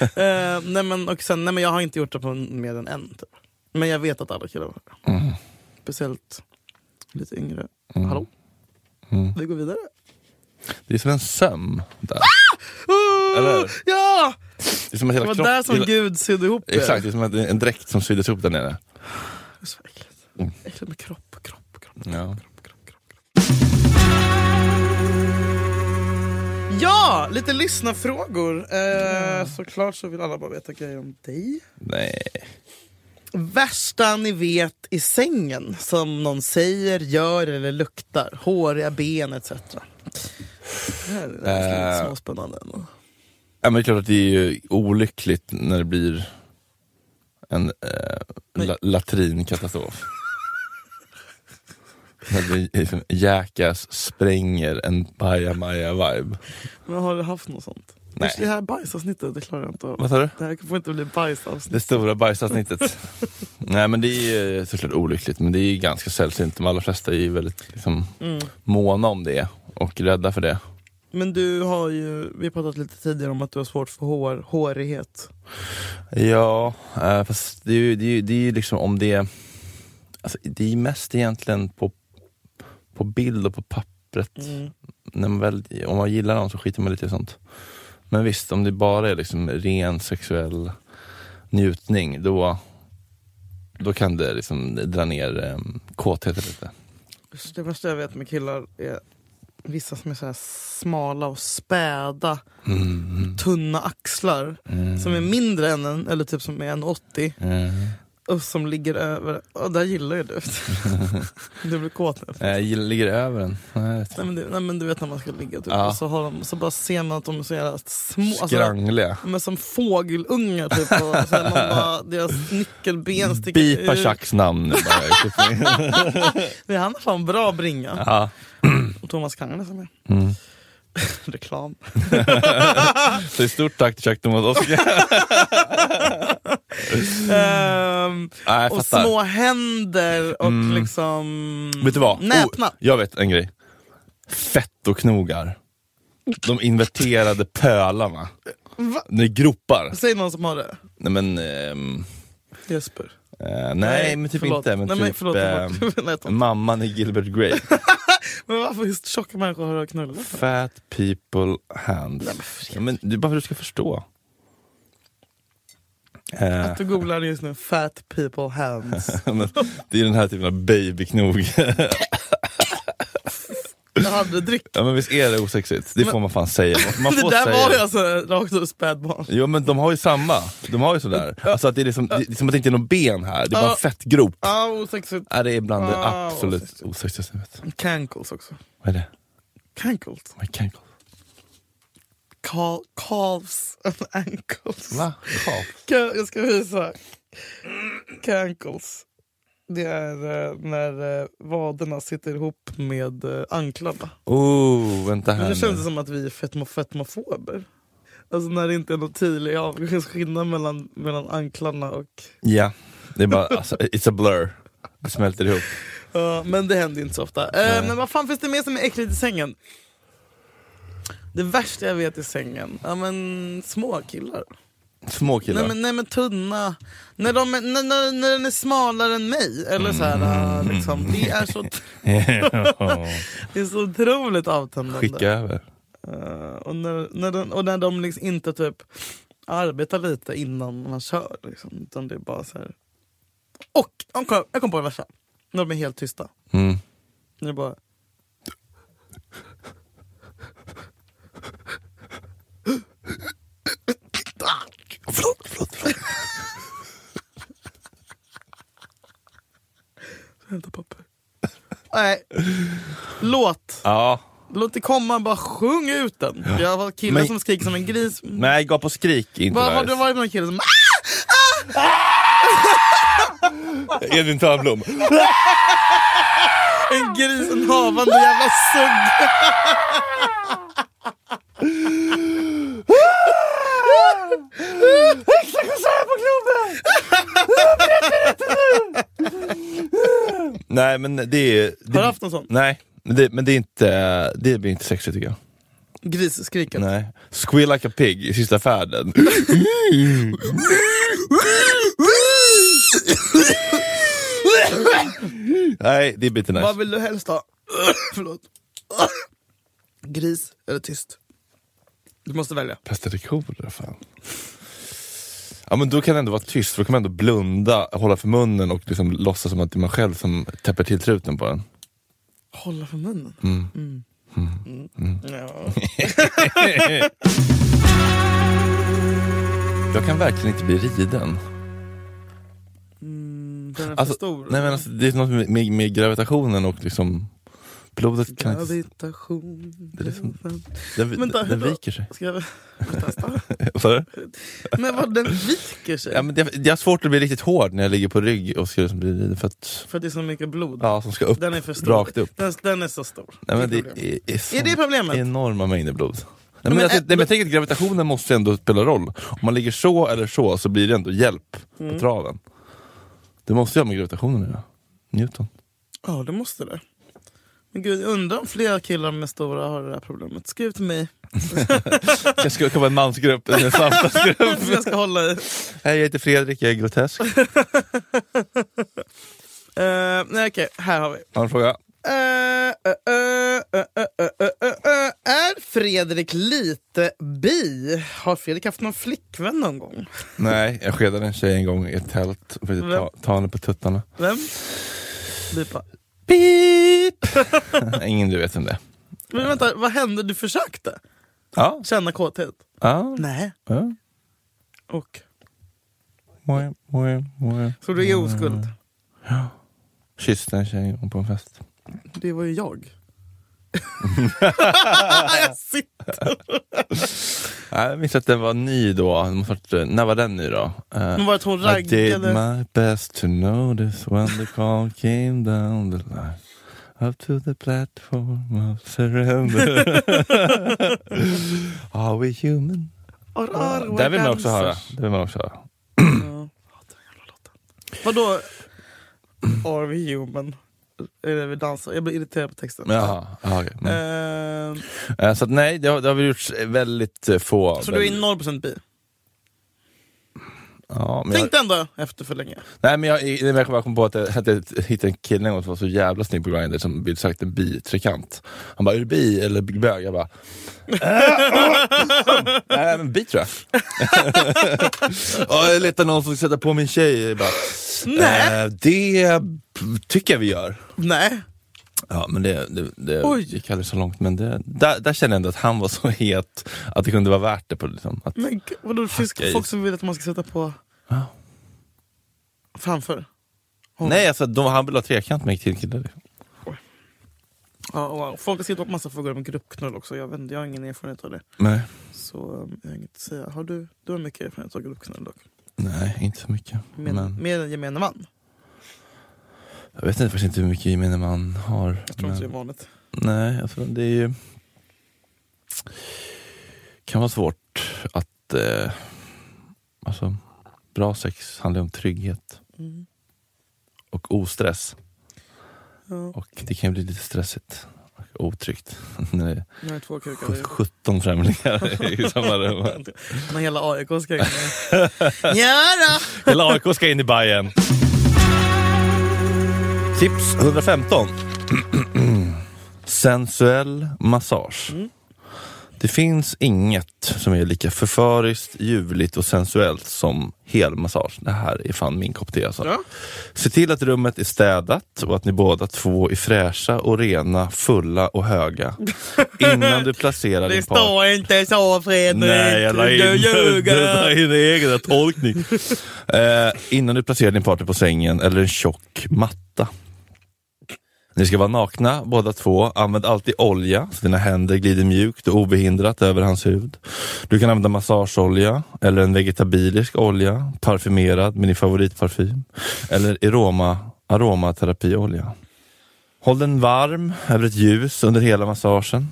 [SPEAKER 3] Eh, nej, men, och sen, nej men jag har inte gjort det på mer än en. Typ. Men jag vet att alla killar har det.
[SPEAKER 2] Mm.
[SPEAKER 3] Speciellt lite yngre.
[SPEAKER 2] Mm.
[SPEAKER 3] Hallå?
[SPEAKER 2] Mm.
[SPEAKER 3] Vi går vidare.
[SPEAKER 2] Det är som en söm där.
[SPEAKER 3] Oh,
[SPEAKER 2] Eller hur?
[SPEAKER 3] ja!
[SPEAKER 2] Det är som att
[SPEAKER 3] Det
[SPEAKER 2] hela
[SPEAKER 3] var där som
[SPEAKER 2] kroppen...
[SPEAKER 3] Gud sydde ihop er.
[SPEAKER 2] Exakt, det är som att det är en dräkt som syddes ihop där nere.
[SPEAKER 3] Det är så äckligt.
[SPEAKER 2] Mm.
[SPEAKER 3] Äckligt med kropp, kropp, kropp.
[SPEAKER 2] Ja.
[SPEAKER 3] Ja, lite lyssnarfrågor. Eh,
[SPEAKER 2] Mm.
[SPEAKER 3] Såklart så vill alla bara veta grejer om dig.
[SPEAKER 2] Nej.
[SPEAKER 3] Värsta ni vet i sängen som någon säger, gör eller luktar. Håriga ben etc. Det här är
[SPEAKER 2] Eh.
[SPEAKER 3] lite småspännande. ändå.
[SPEAKER 2] Ja, men det är klart att det är ju olyckligt när det blir en eh, la- latrinkatastrof. När det är liksom, Jackass spränger en bajamaja-vibe.
[SPEAKER 3] Men har du haft något sånt?
[SPEAKER 2] Nej.
[SPEAKER 3] Det här bajsavsnittet, det klarar jag inte av.
[SPEAKER 2] Vad sa du?
[SPEAKER 3] Det här får inte bli bajsavsnitt.
[SPEAKER 2] Det stora bajsavsnittet. Nej men det är ju såklart olyckligt men det är ju ganska sällsynt. De allra flesta är ju väldigt liksom,
[SPEAKER 3] Mm.
[SPEAKER 2] måna om det och rädda för det.
[SPEAKER 3] Men du har ju, vi har pratat lite tidigare om att du har svårt för hår, hårighet.
[SPEAKER 2] Ja, eh, fast det är ju, det är ju, det är ju liksom om det... Alltså, det är ju mest egentligen på, på bild och på pappret. När man väl, om man gillar någon så skiter man lite i sånt. Men visst, om det bara är liksom ren sexuell njutning då, då kan det liksom dra ner um, kåtheten lite.
[SPEAKER 3] Så Det värsta jag vet med killar är vissa som är så här smala och späda,
[SPEAKER 2] Mm,
[SPEAKER 3] tunna axlar.
[SPEAKER 2] mm,
[SPEAKER 3] Som är mindre än en, eller typ som är en 80
[SPEAKER 2] mm.
[SPEAKER 3] och som ligger över. Och där gillar ju du. du blir kåt nu.
[SPEAKER 2] Eh, jag ligger över den. Nej, vet
[SPEAKER 3] Nej men, du, nej men du vet när man ska ligga typ.
[SPEAKER 2] Ja.
[SPEAKER 3] och så, har de, så bara ser man att de är så jävla små.
[SPEAKER 2] du.
[SPEAKER 3] Alltså,
[SPEAKER 2] Skrangliga.
[SPEAKER 3] men som fågelungar typ. Och så här, man bara, deras nyckelben sticker eh,
[SPEAKER 2] Bipa
[SPEAKER 3] ut.
[SPEAKER 2] Chucks namn nu bara.
[SPEAKER 3] Men han har fan bra bringa.
[SPEAKER 2] ja.
[SPEAKER 3] Och Thomas Kangne som är
[SPEAKER 2] mm.
[SPEAKER 3] reklam.
[SPEAKER 2] Så stort tack till Chuck Thomas Oskar.
[SPEAKER 3] Ehm,
[SPEAKER 2] Nej, jag
[SPEAKER 3] och
[SPEAKER 2] fattar.
[SPEAKER 3] små händer och
[SPEAKER 2] Mm.
[SPEAKER 3] liksom
[SPEAKER 2] Vet du vad?
[SPEAKER 3] näpna.
[SPEAKER 2] Oh, jag vet en grej. Fettoknogar. De inverterade pölarna.
[SPEAKER 3] Va?
[SPEAKER 2] Nej, gropar.
[SPEAKER 3] Säg någon som har det.
[SPEAKER 2] Nej men... ehm,
[SPEAKER 3] Jesper.
[SPEAKER 2] eh, nej,
[SPEAKER 3] Nej,
[SPEAKER 2] men typ
[SPEAKER 3] förlåt.
[SPEAKER 2] inte. Men
[SPEAKER 3] Nej, men
[SPEAKER 2] typ
[SPEAKER 3] förlåt, förlåt.
[SPEAKER 2] ehm,
[SPEAKER 3] Nej, tack.
[SPEAKER 2] mamman i Gilbert Grape.
[SPEAKER 3] Men varför just tjocka människor har knullat?
[SPEAKER 2] Fat people hands. Ja, men det är bara för att du ska förstå. Eh,
[SPEAKER 3] Att du googlar just nu, fat people hands.
[SPEAKER 2] men det är den här typen av babyknog.
[SPEAKER 3] Jag hade dryck.
[SPEAKER 2] ja, men visst är det osexigt? Det
[SPEAKER 3] Men-
[SPEAKER 2] får man fan säga. Man
[SPEAKER 3] det
[SPEAKER 2] får
[SPEAKER 3] där
[SPEAKER 2] säga.
[SPEAKER 3] var ju alltså rakt ur spädbarn.
[SPEAKER 2] Jo men de har ju samma, de har ju sådär. Alltså att det, är liksom, det är som att det inte är någon ben här, det är bara en fettgrop.
[SPEAKER 3] Ah, osexigt.
[SPEAKER 2] Ja, det är bland det
[SPEAKER 3] Ah,
[SPEAKER 2] absolut
[SPEAKER 3] osexigt.
[SPEAKER 2] osexigaste jag vet.
[SPEAKER 3] Cankles också.
[SPEAKER 2] Vad är det?
[SPEAKER 3] Cankles?
[SPEAKER 2] My cankle.
[SPEAKER 3] Cal- calves and ankles.
[SPEAKER 2] Va? Kav?
[SPEAKER 3] Kan, jag ska visa. Cankles. Det är eh, när eh, vaderna sitter ihop med eh, anklarna.
[SPEAKER 2] Oh, vänta
[SPEAKER 3] Men
[SPEAKER 2] här
[SPEAKER 3] det känns
[SPEAKER 2] nu.
[SPEAKER 3] som att vi är fetmo- fetmofober. Alltså när det inte är någon tydlig avgränsning mellan, mellan anklarna och...
[SPEAKER 2] Ja, det är bara, alltså, it's a blur. Det smälter ihop.
[SPEAKER 3] Ja, men det händer ju inte så ofta. Eh, men vad fan finns det mer som är äckligt i sängen? Det värsta jag vet i sängen, ja men små killar.
[SPEAKER 2] Små killar.
[SPEAKER 3] Nej men, nej men tunna. När, de, är- när, när, när den är smalare än mig. Eller så här,
[SPEAKER 2] Mm.
[SPEAKER 3] äh, liksom. det, är så, det är så otroligt avtändande.
[SPEAKER 2] Skicka över.
[SPEAKER 3] Eh, och, när, när den, och när de liksom inte typ arbetar lite innan man kör. Liksom, utan det är bara så här. Och jag kom, jag kom på det värsta. När de är helt tysta.
[SPEAKER 2] Mm.
[SPEAKER 3] När det bara...
[SPEAKER 2] Förlåt, förlåt, förlåt.
[SPEAKER 3] Hämta papper. Nej. Låt.
[SPEAKER 2] Ja.
[SPEAKER 3] Låt det komma, bara sjung ut den. Jag var kille
[SPEAKER 2] Men-
[SPEAKER 3] som skrek som en gris.
[SPEAKER 2] Nej, gap och skrik är inte
[SPEAKER 3] Vad har
[SPEAKER 2] nice.
[SPEAKER 3] du varit med någon kille som... Ah!
[SPEAKER 2] Edvin Törnblom.
[SPEAKER 3] En gris, en havande jävla sugg.
[SPEAKER 2] Nej, men det är... Det,
[SPEAKER 3] Har du haft någon sån?
[SPEAKER 2] Nej, men det, men det är inte... Det blir inte sexigt tycker jag.
[SPEAKER 3] Grisskriket.
[SPEAKER 2] Nej. Squeal like a pig i sista färden. Nej, det blir inte nice.
[SPEAKER 3] Vad vill du helst ha? Förlåt. Gris eller tyst? Du måste välja.
[SPEAKER 2] Pest eller kolera fan. Ja men då kan det ändå vara tyst, för då kan man ändå blunda, hålla för munnen och liksom låtsas som att det är man själv som täpper till truten på den.
[SPEAKER 3] Hålla för munnen. Mm. Ja.
[SPEAKER 2] Jag kan verkligen inte bli riden.
[SPEAKER 3] Mm, Den är för
[SPEAKER 2] Alltså,
[SPEAKER 3] stor.
[SPEAKER 2] Nej men alltså, det är något med, med, med gravitationen och liksom blodet kan inte...
[SPEAKER 3] Gravitation.
[SPEAKER 2] Det är liksom- Den,
[SPEAKER 3] Vänta,
[SPEAKER 2] den, den
[SPEAKER 3] hur då?
[SPEAKER 2] viker sig.
[SPEAKER 3] Ska jag testa?
[SPEAKER 2] Vad sa du?
[SPEAKER 3] Men vad den viker sig.
[SPEAKER 2] Ja, men det, det är svårt att bli riktigt hård när jag ligger på rygg och ska liksom bli riden för att...
[SPEAKER 3] För att det är så mycket blod.
[SPEAKER 2] Ja, som ska upp.
[SPEAKER 3] Den är för stor.
[SPEAKER 2] Rakt upp.
[SPEAKER 3] Den, den är så stor.
[SPEAKER 2] Nej, men det
[SPEAKER 3] problem.
[SPEAKER 2] är, är, så-
[SPEAKER 3] Är det problemet?
[SPEAKER 2] Enorma mängder blod. Nej, men
[SPEAKER 3] men
[SPEAKER 2] jag,
[SPEAKER 3] ä-
[SPEAKER 2] nej, men jag tänker att gravitationen måste ändå spela roll. Om man ligger så eller så så blir det ändå hjälp
[SPEAKER 3] Mm.
[SPEAKER 2] på traven. Det måste ju ha med gravitationen att göra. Newton.
[SPEAKER 3] Ja, det måste det. Men gud, jag undrar om fler killar med stora har det här problemet. Skriv till mig.
[SPEAKER 2] Jag ska komma en mansgrupp, en samtalsgrupp.
[SPEAKER 3] jag ska hålla i.
[SPEAKER 2] Hej, jag heter Fredrik, jag är grotesk.
[SPEAKER 3] Eh, nej, okej. Här har vi.
[SPEAKER 2] Har du en fråga?
[SPEAKER 3] Eh, eh, eh, eh, eh, eh, eh, eh. Är Fredrik lite bi? Har Fredrik haft någon flickvän någon gång?
[SPEAKER 2] Nej, jag skedade en tjej en gång i ett tält och försökte ta, ta henne på tuttarna.
[SPEAKER 3] Vem? Bipa.
[SPEAKER 2] Beep! Ingen du vet om det
[SPEAKER 3] Men vänta, vad hände? Du försökte
[SPEAKER 2] Ja,
[SPEAKER 3] känna kåthet?
[SPEAKER 2] ja.
[SPEAKER 3] Nej.
[SPEAKER 2] ja.
[SPEAKER 3] Och?
[SPEAKER 2] Moi, moi, moi.
[SPEAKER 3] Så du är oskuld?
[SPEAKER 2] Kysste en tjej på en fest.
[SPEAKER 3] Det var ju jag. jag sitter.
[SPEAKER 2] Nej, Jag minns att den var ny då. Den måste ha varit, eh, När var den ny då? Eh,
[SPEAKER 3] Men var det att hon
[SPEAKER 2] I did
[SPEAKER 3] raggade?
[SPEAKER 2] my best to notice when the call came down the line Up to the platform of surrender Are we human?
[SPEAKER 3] Or are we
[SPEAKER 2] Det vill man också
[SPEAKER 3] dancers?
[SPEAKER 2] höra. Det vill man också höra.
[SPEAKER 3] Ja. Vadå? Are we human? Eller vi dansar. Jag blir irriterad på texten.
[SPEAKER 2] Jaha, ja, okej. Mm.
[SPEAKER 3] Ehm,
[SPEAKER 2] Eh, Så att nej, det har, det har vi gjort eh, väldigt eh, få.
[SPEAKER 3] så du är
[SPEAKER 2] väldigt-
[SPEAKER 3] 0% bi?
[SPEAKER 2] ja, men jag,
[SPEAKER 3] Tänk dig ändå efter för länge.
[SPEAKER 2] Nej men jag, nej, men jag bara kom på att jag, att jag hittade en kille en gång som var så jävla snygg på Grindr som blev sagt en bitrekant. Han bara, är du bi eller bög? Jag bara, "Äh, nej men bi tror jag. ja, jag letar någon som ska sätta på min tjej. Jag bara,
[SPEAKER 3] Nej.
[SPEAKER 2] "Eh, det tycker jag vi gör.
[SPEAKER 3] Nej.
[SPEAKER 2] Ja men det, det, det
[SPEAKER 3] Oj.
[SPEAKER 2] gick aldrig så långt men det, där, där kände jag ändå att han var så het att det kunde vara värt det. På, liksom, att,
[SPEAKER 3] Men gud, vadå, det finns
[SPEAKER 2] Hacka i.
[SPEAKER 3] folk som vill att man ska sätta på
[SPEAKER 2] Ja.
[SPEAKER 3] framför?
[SPEAKER 2] nej alltså de, han ville ha trekant med en till kille. Liksom.
[SPEAKER 3] Ja, och- och folk har skrivit upp massa frågor om gruppknull också. Jag, vet, inte, jag har ingen erfarenhet av det.
[SPEAKER 2] Nej.
[SPEAKER 3] Så um, jag har inget att säga. Har du, du har mycket erfarenhet av gruppknull dock.
[SPEAKER 2] nej, inte så mycket.
[SPEAKER 3] Mer,
[SPEAKER 2] men...
[SPEAKER 3] mer än gemene man.
[SPEAKER 2] Jag vet inte, faktiskt inte hur mycket gemene man har.
[SPEAKER 3] Jag tror inte det
[SPEAKER 2] men-
[SPEAKER 3] är vanligt.
[SPEAKER 2] Nej, jag tror det är ju... kan vara svårt att... Eh, alltså, bra sex handlar om trygghet
[SPEAKER 3] Mm.
[SPEAKER 2] och ostress.
[SPEAKER 3] Ja.
[SPEAKER 2] Och det kan ju bli lite stressigt. otryggt. När det
[SPEAKER 3] Nu har jag två kukar.
[SPEAKER 2] är 17 främlingar i samma rum.
[SPEAKER 3] Men hela AIK ska in. ja då.
[SPEAKER 2] Hela AIK ska in i Bayern. Tips 115. Sensuell massage.
[SPEAKER 3] Mm.
[SPEAKER 2] Det finns inget som är lika förföriskt, ljuvligt och sensuellt som helmassage. Det här är fan min kopp te alltså.
[SPEAKER 3] Ja.
[SPEAKER 2] Se till att rummet är städat och att ni båda två är fräscha och rena, fulla och höga. Innan du placerar
[SPEAKER 3] Det
[SPEAKER 2] din partner.
[SPEAKER 3] står inte så Fredrik.
[SPEAKER 2] Nej, jag la in,
[SPEAKER 3] Du
[SPEAKER 2] jag la
[SPEAKER 3] ljuger.
[SPEAKER 2] in egna tolkning. eh, innan du placerar din partner på sängen eller en tjock matta. Ni ska vara nakna båda två. Använd alltid olja så dina händer glider mjukt och obehindrat över hans hud. Du kan använda massageolja eller en vegetabilisk olja parfymerad med din favoritparfym. Eller aroma, aromaterapiolja. Håll den varm över ett ljus under hela massagen.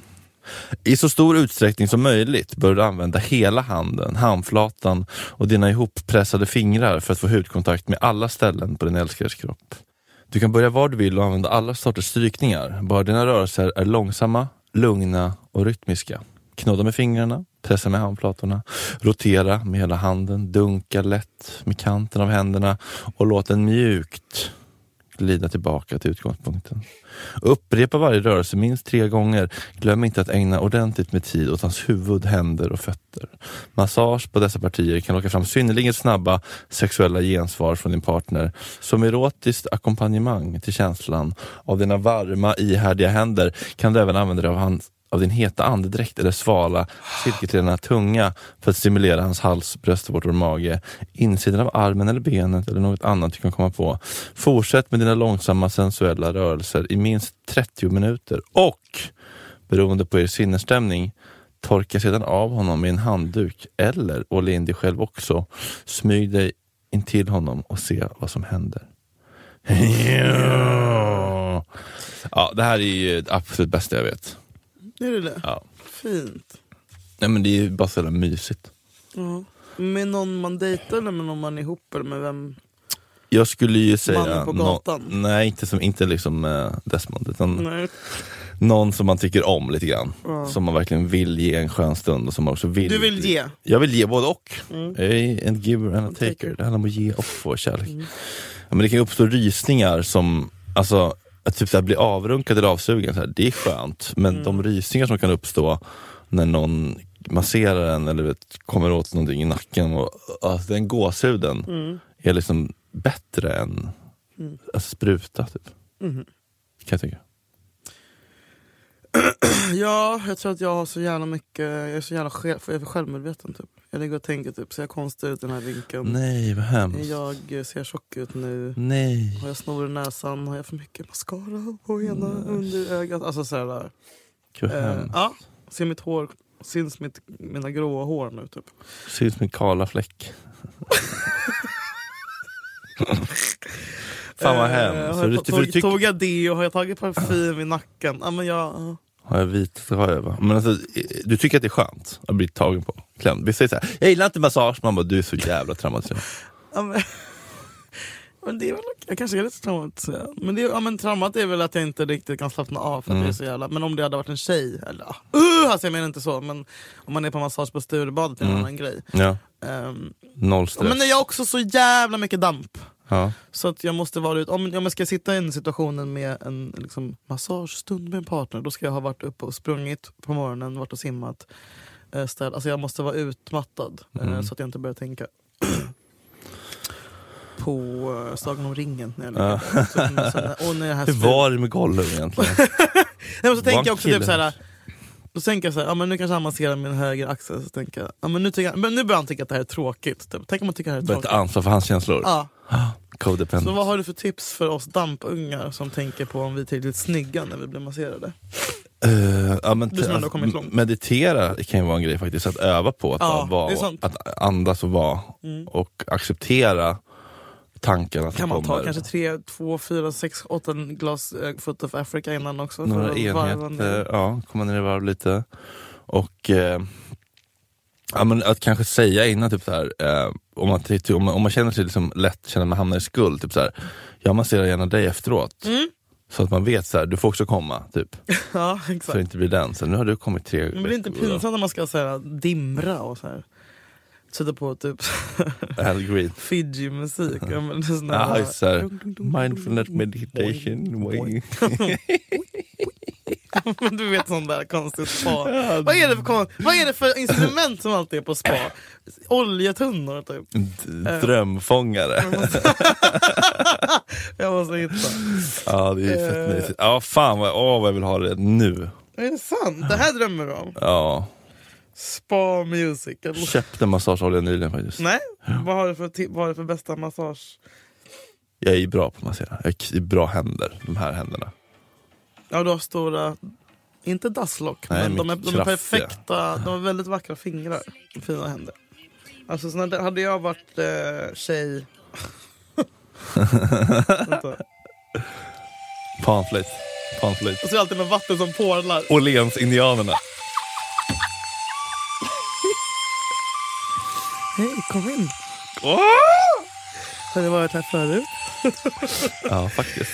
[SPEAKER 2] I så stor utsträckning som möjligt bör du använda hela handen, handflatan och dina ihoppressade fingrar för att få hudkontakt med alla ställen på din älskares kropp. Du kan börja var du vill och använda alla sorters strykningar, bara dina rörelser är långsamma, lugna och rytmiska. Knåda med fingrarna, pressa med handflatorna, rotera med hela handen, dunka lätt med kanten av händerna och låt den mjukt glida tillbaka till utgångspunkten. Upprepa varje rörelse minst tre gånger. Glöm inte att ägna ordentligt med tid åt hans huvud, händer och fötter. Massage på dessa partier kan locka fram synnerligen snabba sexuella gensvar från din partner som erotiskt ackompanjemang till känslan av dina varma, ihärdiga händer kan du även använda dig av, hans, av din heta andedräkt eller svala, cirkeltränad tunga för att stimulera hans hals, bröstvårtor och mage, insidan av armen eller benet eller något annat du kan komma på. Fortsätt med dina långsamma sensuella rörelser i minst 30 minuter och, beroende på er sinnesstämning, torka sedan av honom med en handduk eller olja in dig själv också. Smyg dig in till honom och se vad som händer. Ja. Ja, det här är ju det absolut bästa jag vet.
[SPEAKER 3] Är det det?
[SPEAKER 2] Ja.
[SPEAKER 3] Fint.
[SPEAKER 2] Nej, men det är ju bara så jävla mysigt.
[SPEAKER 3] Ja. Med någon man dejtar eller med någon man är ihop eller med vem?
[SPEAKER 2] Jag skulle ju säga...
[SPEAKER 3] Mannen på
[SPEAKER 2] nå-
[SPEAKER 3] gatan.
[SPEAKER 2] nej, inte, som, inte liksom eh, Desmond, utan
[SPEAKER 3] Nej.
[SPEAKER 2] någon som man tycker om lite grann.
[SPEAKER 3] Ja.
[SPEAKER 2] Som man verkligen vill ge en skön stund och som man också vill...
[SPEAKER 3] Du vill ge?
[SPEAKER 2] Jag vill ge både och.
[SPEAKER 3] Mm.
[SPEAKER 2] Jag är en giver and a taker.
[SPEAKER 3] taker.
[SPEAKER 2] Det handlar om att ge och få kärlek.
[SPEAKER 3] Mm.
[SPEAKER 2] Ja, men det kan ju uppstå rysningar som, alltså att typ så här bli avrunkad eller avsugen, så här, det är skönt. Men
[SPEAKER 3] Mm.
[SPEAKER 2] de rysningar som kan uppstå när någon masserar en eller vet, kommer åt någonting i nacken, och, alltså, den gåshuden
[SPEAKER 3] Mm.
[SPEAKER 2] är liksom bättre än att spruta. Typ.
[SPEAKER 3] Mm.
[SPEAKER 2] Kan jag tycka.
[SPEAKER 3] Ja, jag tror att jag har så jävla mycket, jag är så jävla själv, jag är för självmedveten typ. Jag ligger och tänker typ, ser jag konstig ut i den här vinkeln?
[SPEAKER 2] Nej, vad hemskt.
[SPEAKER 3] Jag eh, ser tjock ut nu.
[SPEAKER 2] Nej.
[SPEAKER 3] Har jag snor i näsan? Har jag för mycket mascara på ena underögat? Alltså sådär.
[SPEAKER 2] Gud, vad
[SPEAKER 3] Eh,
[SPEAKER 2] Mm. hemskt.
[SPEAKER 3] ja, ser mitt hår, syns mitt, mina gråa hår nu typ.
[SPEAKER 2] Ser ut som en kala fläck. Fan vad
[SPEAKER 3] Eh,
[SPEAKER 2] hemskt.
[SPEAKER 3] har
[SPEAKER 2] Så
[SPEAKER 3] jag
[SPEAKER 2] du-
[SPEAKER 3] tog,
[SPEAKER 2] för du
[SPEAKER 3] tog,
[SPEAKER 2] tycker-
[SPEAKER 3] tog jag det och har jag tagit parfym i nacken? Ja, men jag,
[SPEAKER 2] Har jag vit röva? Men alltså, eh, du tycker att det är skönt att bli tagen på? Klämd. Vi säger så här, jag gillar inte massage. Man bara, du är så jävla traumatiserad.
[SPEAKER 3] ja, men, men det är väl, jag kanske är lite traumatiserad. Men, det, är- ja, men traumat är väl att jag inte riktigt kan slappna av för att
[SPEAKER 2] Mm.
[SPEAKER 3] det är så jävla... Men om det hade varit en tjej, eller ja. uh, alltså jag menar inte så, men om man är på massage på Sturebadet är det en
[SPEAKER 2] Mm.
[SPEAKER 3] annan grej.
[SPEAKER 2] Ja,
[SPEAKER 3] Ehm,
[SPEAKER 2] noll stress.
[SPEAKER 3] men jag har också så jävla mycket damp.
[SPEAKER 2] ja.
[SPEAKER 3] Så att jag måste vara ut. Om, om jag ska sitta i den situationen med en liksom, massagestund med en partner, då ska jag ha varit uppe och sprungit på morgonen, varit och simmat. Eh, städ. Alltså jag måste vara utmattad eh,
[SPEAKER 2] Mm.
[SPEAKER 3] så att jag inte börjar tänka på eh, Sagan om ringen. När jag
[SPEAKER 2] Ja.
[SPEAKER 3] ligger där. Så- så när- och när jag här
[SPEAKER 2] Hur var det med Gollum egentligen?
[SPEAKER 3] Nej, men så tänker
[SPEAKER 2] One
[SPEAKER 3] jag också
[SPEAKER 2] killer.
[SPEAKER 3] typ såhär, då tänker jag såhär, ja, men nu kanske han masserar min höger axel, så tänker jag, ja, men nu, tycker jag, men nu börjar han tycka att det här är tråkigt. Typ. Tänk om han tycker att det här
[SPEAKER 2] Börjar
[SPEAKER 3] är
[SPEAKER 2] inte
[SPEAKER 3] tråkigt.
[SPEAKER 2] ansvar för hans känslor.
[SPEAKER 3] Ja. Så
[SPEAKER 2] Codependent.
[SPEAKER 3] vad har du för tips för oss dampungar som tänker på om vi är tillräckligt snygga när vi blir masserade?
[SPEAKER 2] Eh, ja, men,
[SPEAKER 3] Du som ändå har kommit långt.
[SPEAKER 2] meditera kan ju vara en grej faktiskt. Att öva på att,
[SPEAKER 3] Ja,
[SPEAKER 2] bara
[SPEAKER 3] det är
[SPEAKER 2] vara,
[SPEAKER 3] sant.
[SPEAKER 2] att andas och vara. Och acceptera tankarna som
[SPEAKER 3] Mm. Kan man
[SPEAKER 2] kommer.
[SPEAKER 3] ta kanske tre, två, fyra, sex, åtta glas eh, Foot of Africa innan också? för
[SPEAKER 2] Några
[SPEAKER 3] att varva
[SPEAKER 2] enheter,
[SPEAKER 3] ner?
[SPEAKER 2] ja, komma ner i varv lite. Och eh, ja, men att kanske säga innan, typ så här, eh, om, man, ty-
[SPEAKER 3] Mm.
[SPEAKER 2] om, man, om man känner sig liksom lätt, känner att man hamnar i skuld, typ så här, jag masserar gärna dig efteråt. Så att man vet så här, du får också komma. Typ.
[SPEAKER 3] Ja,
[SPEAKER 2] Så det
[SPEAKER 3] exakt.
[SPEAKER 2] inte blir den. Så nu har du kommit tre
[SPEAKER 3] Men blir det inte pinsamt när man ska så här, dimra och så här, sätta på typ
[SPEAKER 2] Al Green.
[SPEAKER 3] Fiji-musik? Ja, men sån här-
[SPEAKER 2] Ah, så här, mindfulness meditation.
[SPEAKER 3] Men du vet sån där konstigt spa. Vad är, det för, kon- vad är det för instrument som alltid är på spa? Oljetunnor typ.
[SPEAKER 2] D- Drömfångare.
[SPEAKER 3] Jag måste, jag måste hitta.
[SPEAKER 2] Ja, det är ju
[SPEAKER 3] Eh.
[SPEAKER 2] fett mysigt. Ja, fan vad, åh, vad jag vill ha det nu.
[SPEAKER 3] Är det sant? Det här drömmer du om?
[SPEAKER 2] Ja.
[SPEAKER 3] Spa musical.
[SPEAKER 2] Köpte massageolja nyligen faktiskt.
[SPEAKER 3] Nej, vad har du för, ti- vad har du för bästa massage?
[SPEAKER 2] Jag är ju bra på att massera. Jag är i bra händer. De här händerna.
[SPEAKER 3] Ja, du har stora, inte dasslock,
[SPEAKER 2] Nej,
[SPEAKER 3] men de är,
[SPEAKER 2] men
[SPEAKER 3] de är
[SPEAKER 2] kraftiga.
[SPEAKER 3] perfekta. De har väldigt vackra fingrar. Fina händer. Alltså, såna där, hade jag varit eh, tjej... Vänta.
[SPEAKER 2] Panflöjt. Panflöjt.
[SPEAKER 3] Och så är det alltid med vatten som porlar.
[SPEAKER 2] Åhléns-indianerna.
[SPEAKER 3] Hej, kom in. Har du varit här förut?
[SPEAKER 2] Ja, faktiskt.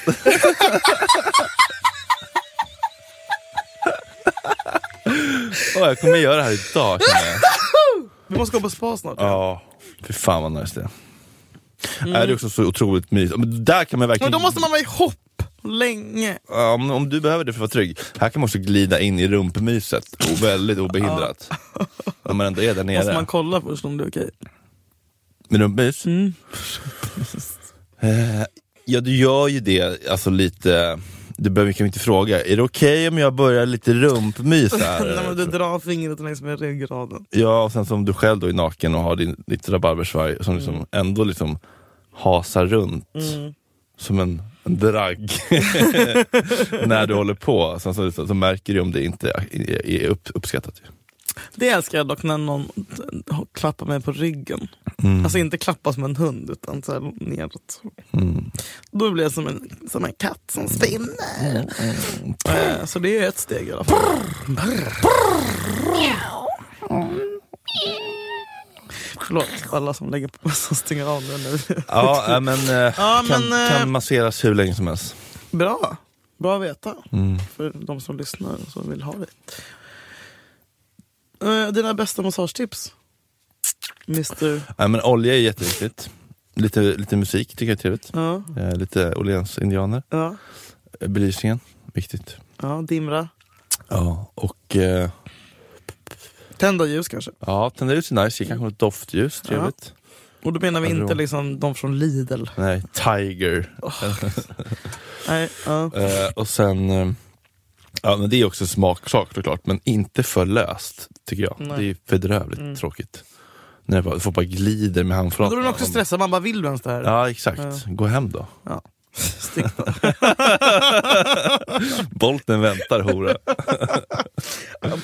[SPEAKER 2] Åh, jag kommer göra det här idag kan jag.
[SPEAKER 3] Vi måste gå på spa snart.
[SPEAKER 2] Ja, fy fan vad nice det är. Nej, Det är också så otroligt mysigt. Men där kan man verkligen...
[SPEAKER 3] Mm. Men då måste man vara ihop länge.
[SPEAKER 2] Ja, om, om du behöver det för att vara trygg, här kan man också glida in i rumpmyset och väldigt obehindrat. Om man ändå är där nere.
[SPEAKER 3] Måste man kolla först om det är okej?
[SPEAKER 2] Med rumpmys? Eh, ja, du gör ju det alltså lite... Du behöver kan ju inte fråga, är det okej om jag börjar lite rumpmys
[SPEAKER 3] Nej, men
[SPEAKER 2] här?
[SPEAKER 3] du drar fingret längs med ryggraden.
[SPEAKER 2] ja, och sen som du själv då är naken och har din, ditt rabarbersvaj som
[SPEAKER 3] Mm.
[SPEAKER 2] liksom ändå liksom hasar runt som en, en dragg när du håller på. Sen så, så, så märker du om det inte är, är upp, uppskattat. ju.
[SPEAKER 3] Det älskar jag dock när någon t- klappar mig på ryggen. Alltså inte klappa som en hund utan så här neråt.
[SPEAKER 2] Mm.
[SPEAKER 3] Då blir jag som en, som en katt som spinner.
[SPEAKER 2] Mm.
[SPEAKER 3] Eh, Så det är ett steg i alla fall. Förlåt alla som lägger på som stänger av nu. nu.
[SPEAKER 2] Ja, äh, men, eh,
[SPEAKER 3] Ja,
[SPEAKER 2] kan,
[SPEAKER 3] men, eh,
[SPEAKER 2] kan masseras hur länge som helst.
[SPEAKER 3] Bra, bra att veta
[SPEAKER 2] Mm.
[SPEAKER 3] för de som lyssnar och som vill ha det. Eh, Dina bästa massagetips? Mr...
[SPEAKER 2] Nej, men olja är jätteviktigt. Lite, lite musik tycker jag är trevligt.
[SPEAKER 3] Ja,
[SPEAKER 2] Eh, lite Åhléns-indianer.
[SPEAKER 3] ja,
[SPEAKER 2] Eh, Belysningen, viktigt.
[SPEAKER 3] ja, dimra.
[SPEAKER 2] Ja, och eh,
[SPEAKER 3] Tända ljus kanske.
[SPEAKER 2] ja, tända ljus är nice. Ge kanske något doftljus, trevligt.
[SPEAKER 3] Och då menar vi
[SPEAKER 2] Ja, det
[SPEAKER 3] inte
[SPEAKER 2] var-
[SPEAKER 3] liksom de från Lidl.
[SPEAKER 2] Nej, Tiger.
[SPEAKER 3] Nej, ja.
[SPEAKER 2] Eh, och sen, eh, ja men det är också smaksak såklart, men inte för löst tycker jag.
[SPEAKER 3] Nej.
[SPEAKER 2] Det är ju bedrövligt tråkigt. När det bara, folk bara glider med
[SPEAKER 3] Men
[SPEAKER 2] handflatorna.
[SPEAKER 3] Då är man också stressad, man bara vill du ens det här?
[SPEAKER 2] Ja exakt, gå hem då.
[SPEAKER 3] Stick.
[SPEAKER 2] Bolten väntar hora.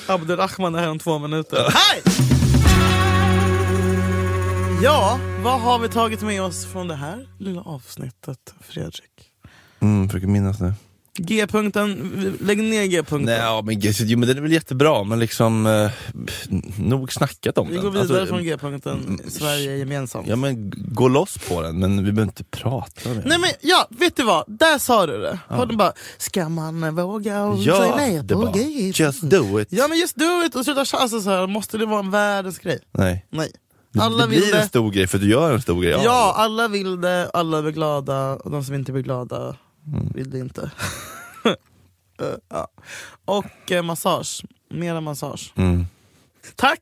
[SPEAKER 3] Abdurrahman är här om två minuter. Hej! Ja, vad har vi tagit med oss från det här lilla avsnittet, Fredrik?
[SPEAKER 2] Mm, försöker minnas nu.
[SPEAKER 3] G-punkten, lägg ner G-punkten.
[SPEAKER 2] Nej, ja, men, gud, jo, men den är väl jättebra, men liksom eh, nog snackat om
[SPEAKER 3] vi
[SPEAKER 2] den.
[SPEAKER 3] går vidare
[SPEAKER 2] Alltså,
[SPEAKER 3] från G-punkten, Sverige är gemensamt.
[SPEAKER 2] Ja men g- gå loss på den, men vi behöver inte prata med
[SPEAKER 3] Nej men ja, vet du vad? Där sa du det. Och de bara, ska man eh, våga och säga
[SPEAKER 2] Ja,
[SPEAKER 3] nej
[SPEAKER 2] det
[SPEAKER 3] på
[SPEAKER 2] bara,
[SPEAKER 3] G?
[SPEAKER 2] just do it.
[SPEAKER 3] Ja men just do it och sluta chansa så här. måste det vara en världens grej?
[SPEAKER 2] Nej.
[SPEAKER 3] Nej.
[SPEAKER 2] Det,
[SPEAKER 3] Alla
[SPEAKER 2] det blir
[SPEAKER 3] vill det.
[SPEAKER 2] en stor grej för du gör en stor grej av
[SPEAKER 3] Ja, alla vill det, alla blir glada och de som inte blir glada
[SPEAKER 2] Mm.
[SPEAKER 3] vill det inte. Eh, ja. Och eh, massage, mera massage.
[SPEAKER 2] det. Mm.
[SPEAKER 3] Tack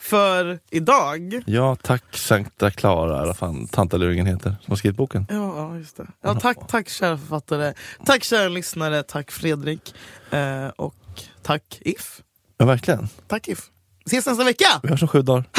[SPEAKER 3] för idag!
[SPEAKER 2] Ja, tack Sankta Klara, eller fan tantalurgen heter, som har skrivit boken.
[SPEAKER 3] Ja, ja, just det. Ja, tack, tack kära författare, tack kära lyssnare, tack Fredrik eh, och tack If.
[SPEAKER 2] Ja, verkligen.
[SPEAKER 3] Tack If. Ses nästa vecka!
[SPEAKER 2] Vi hörs om sju dagar.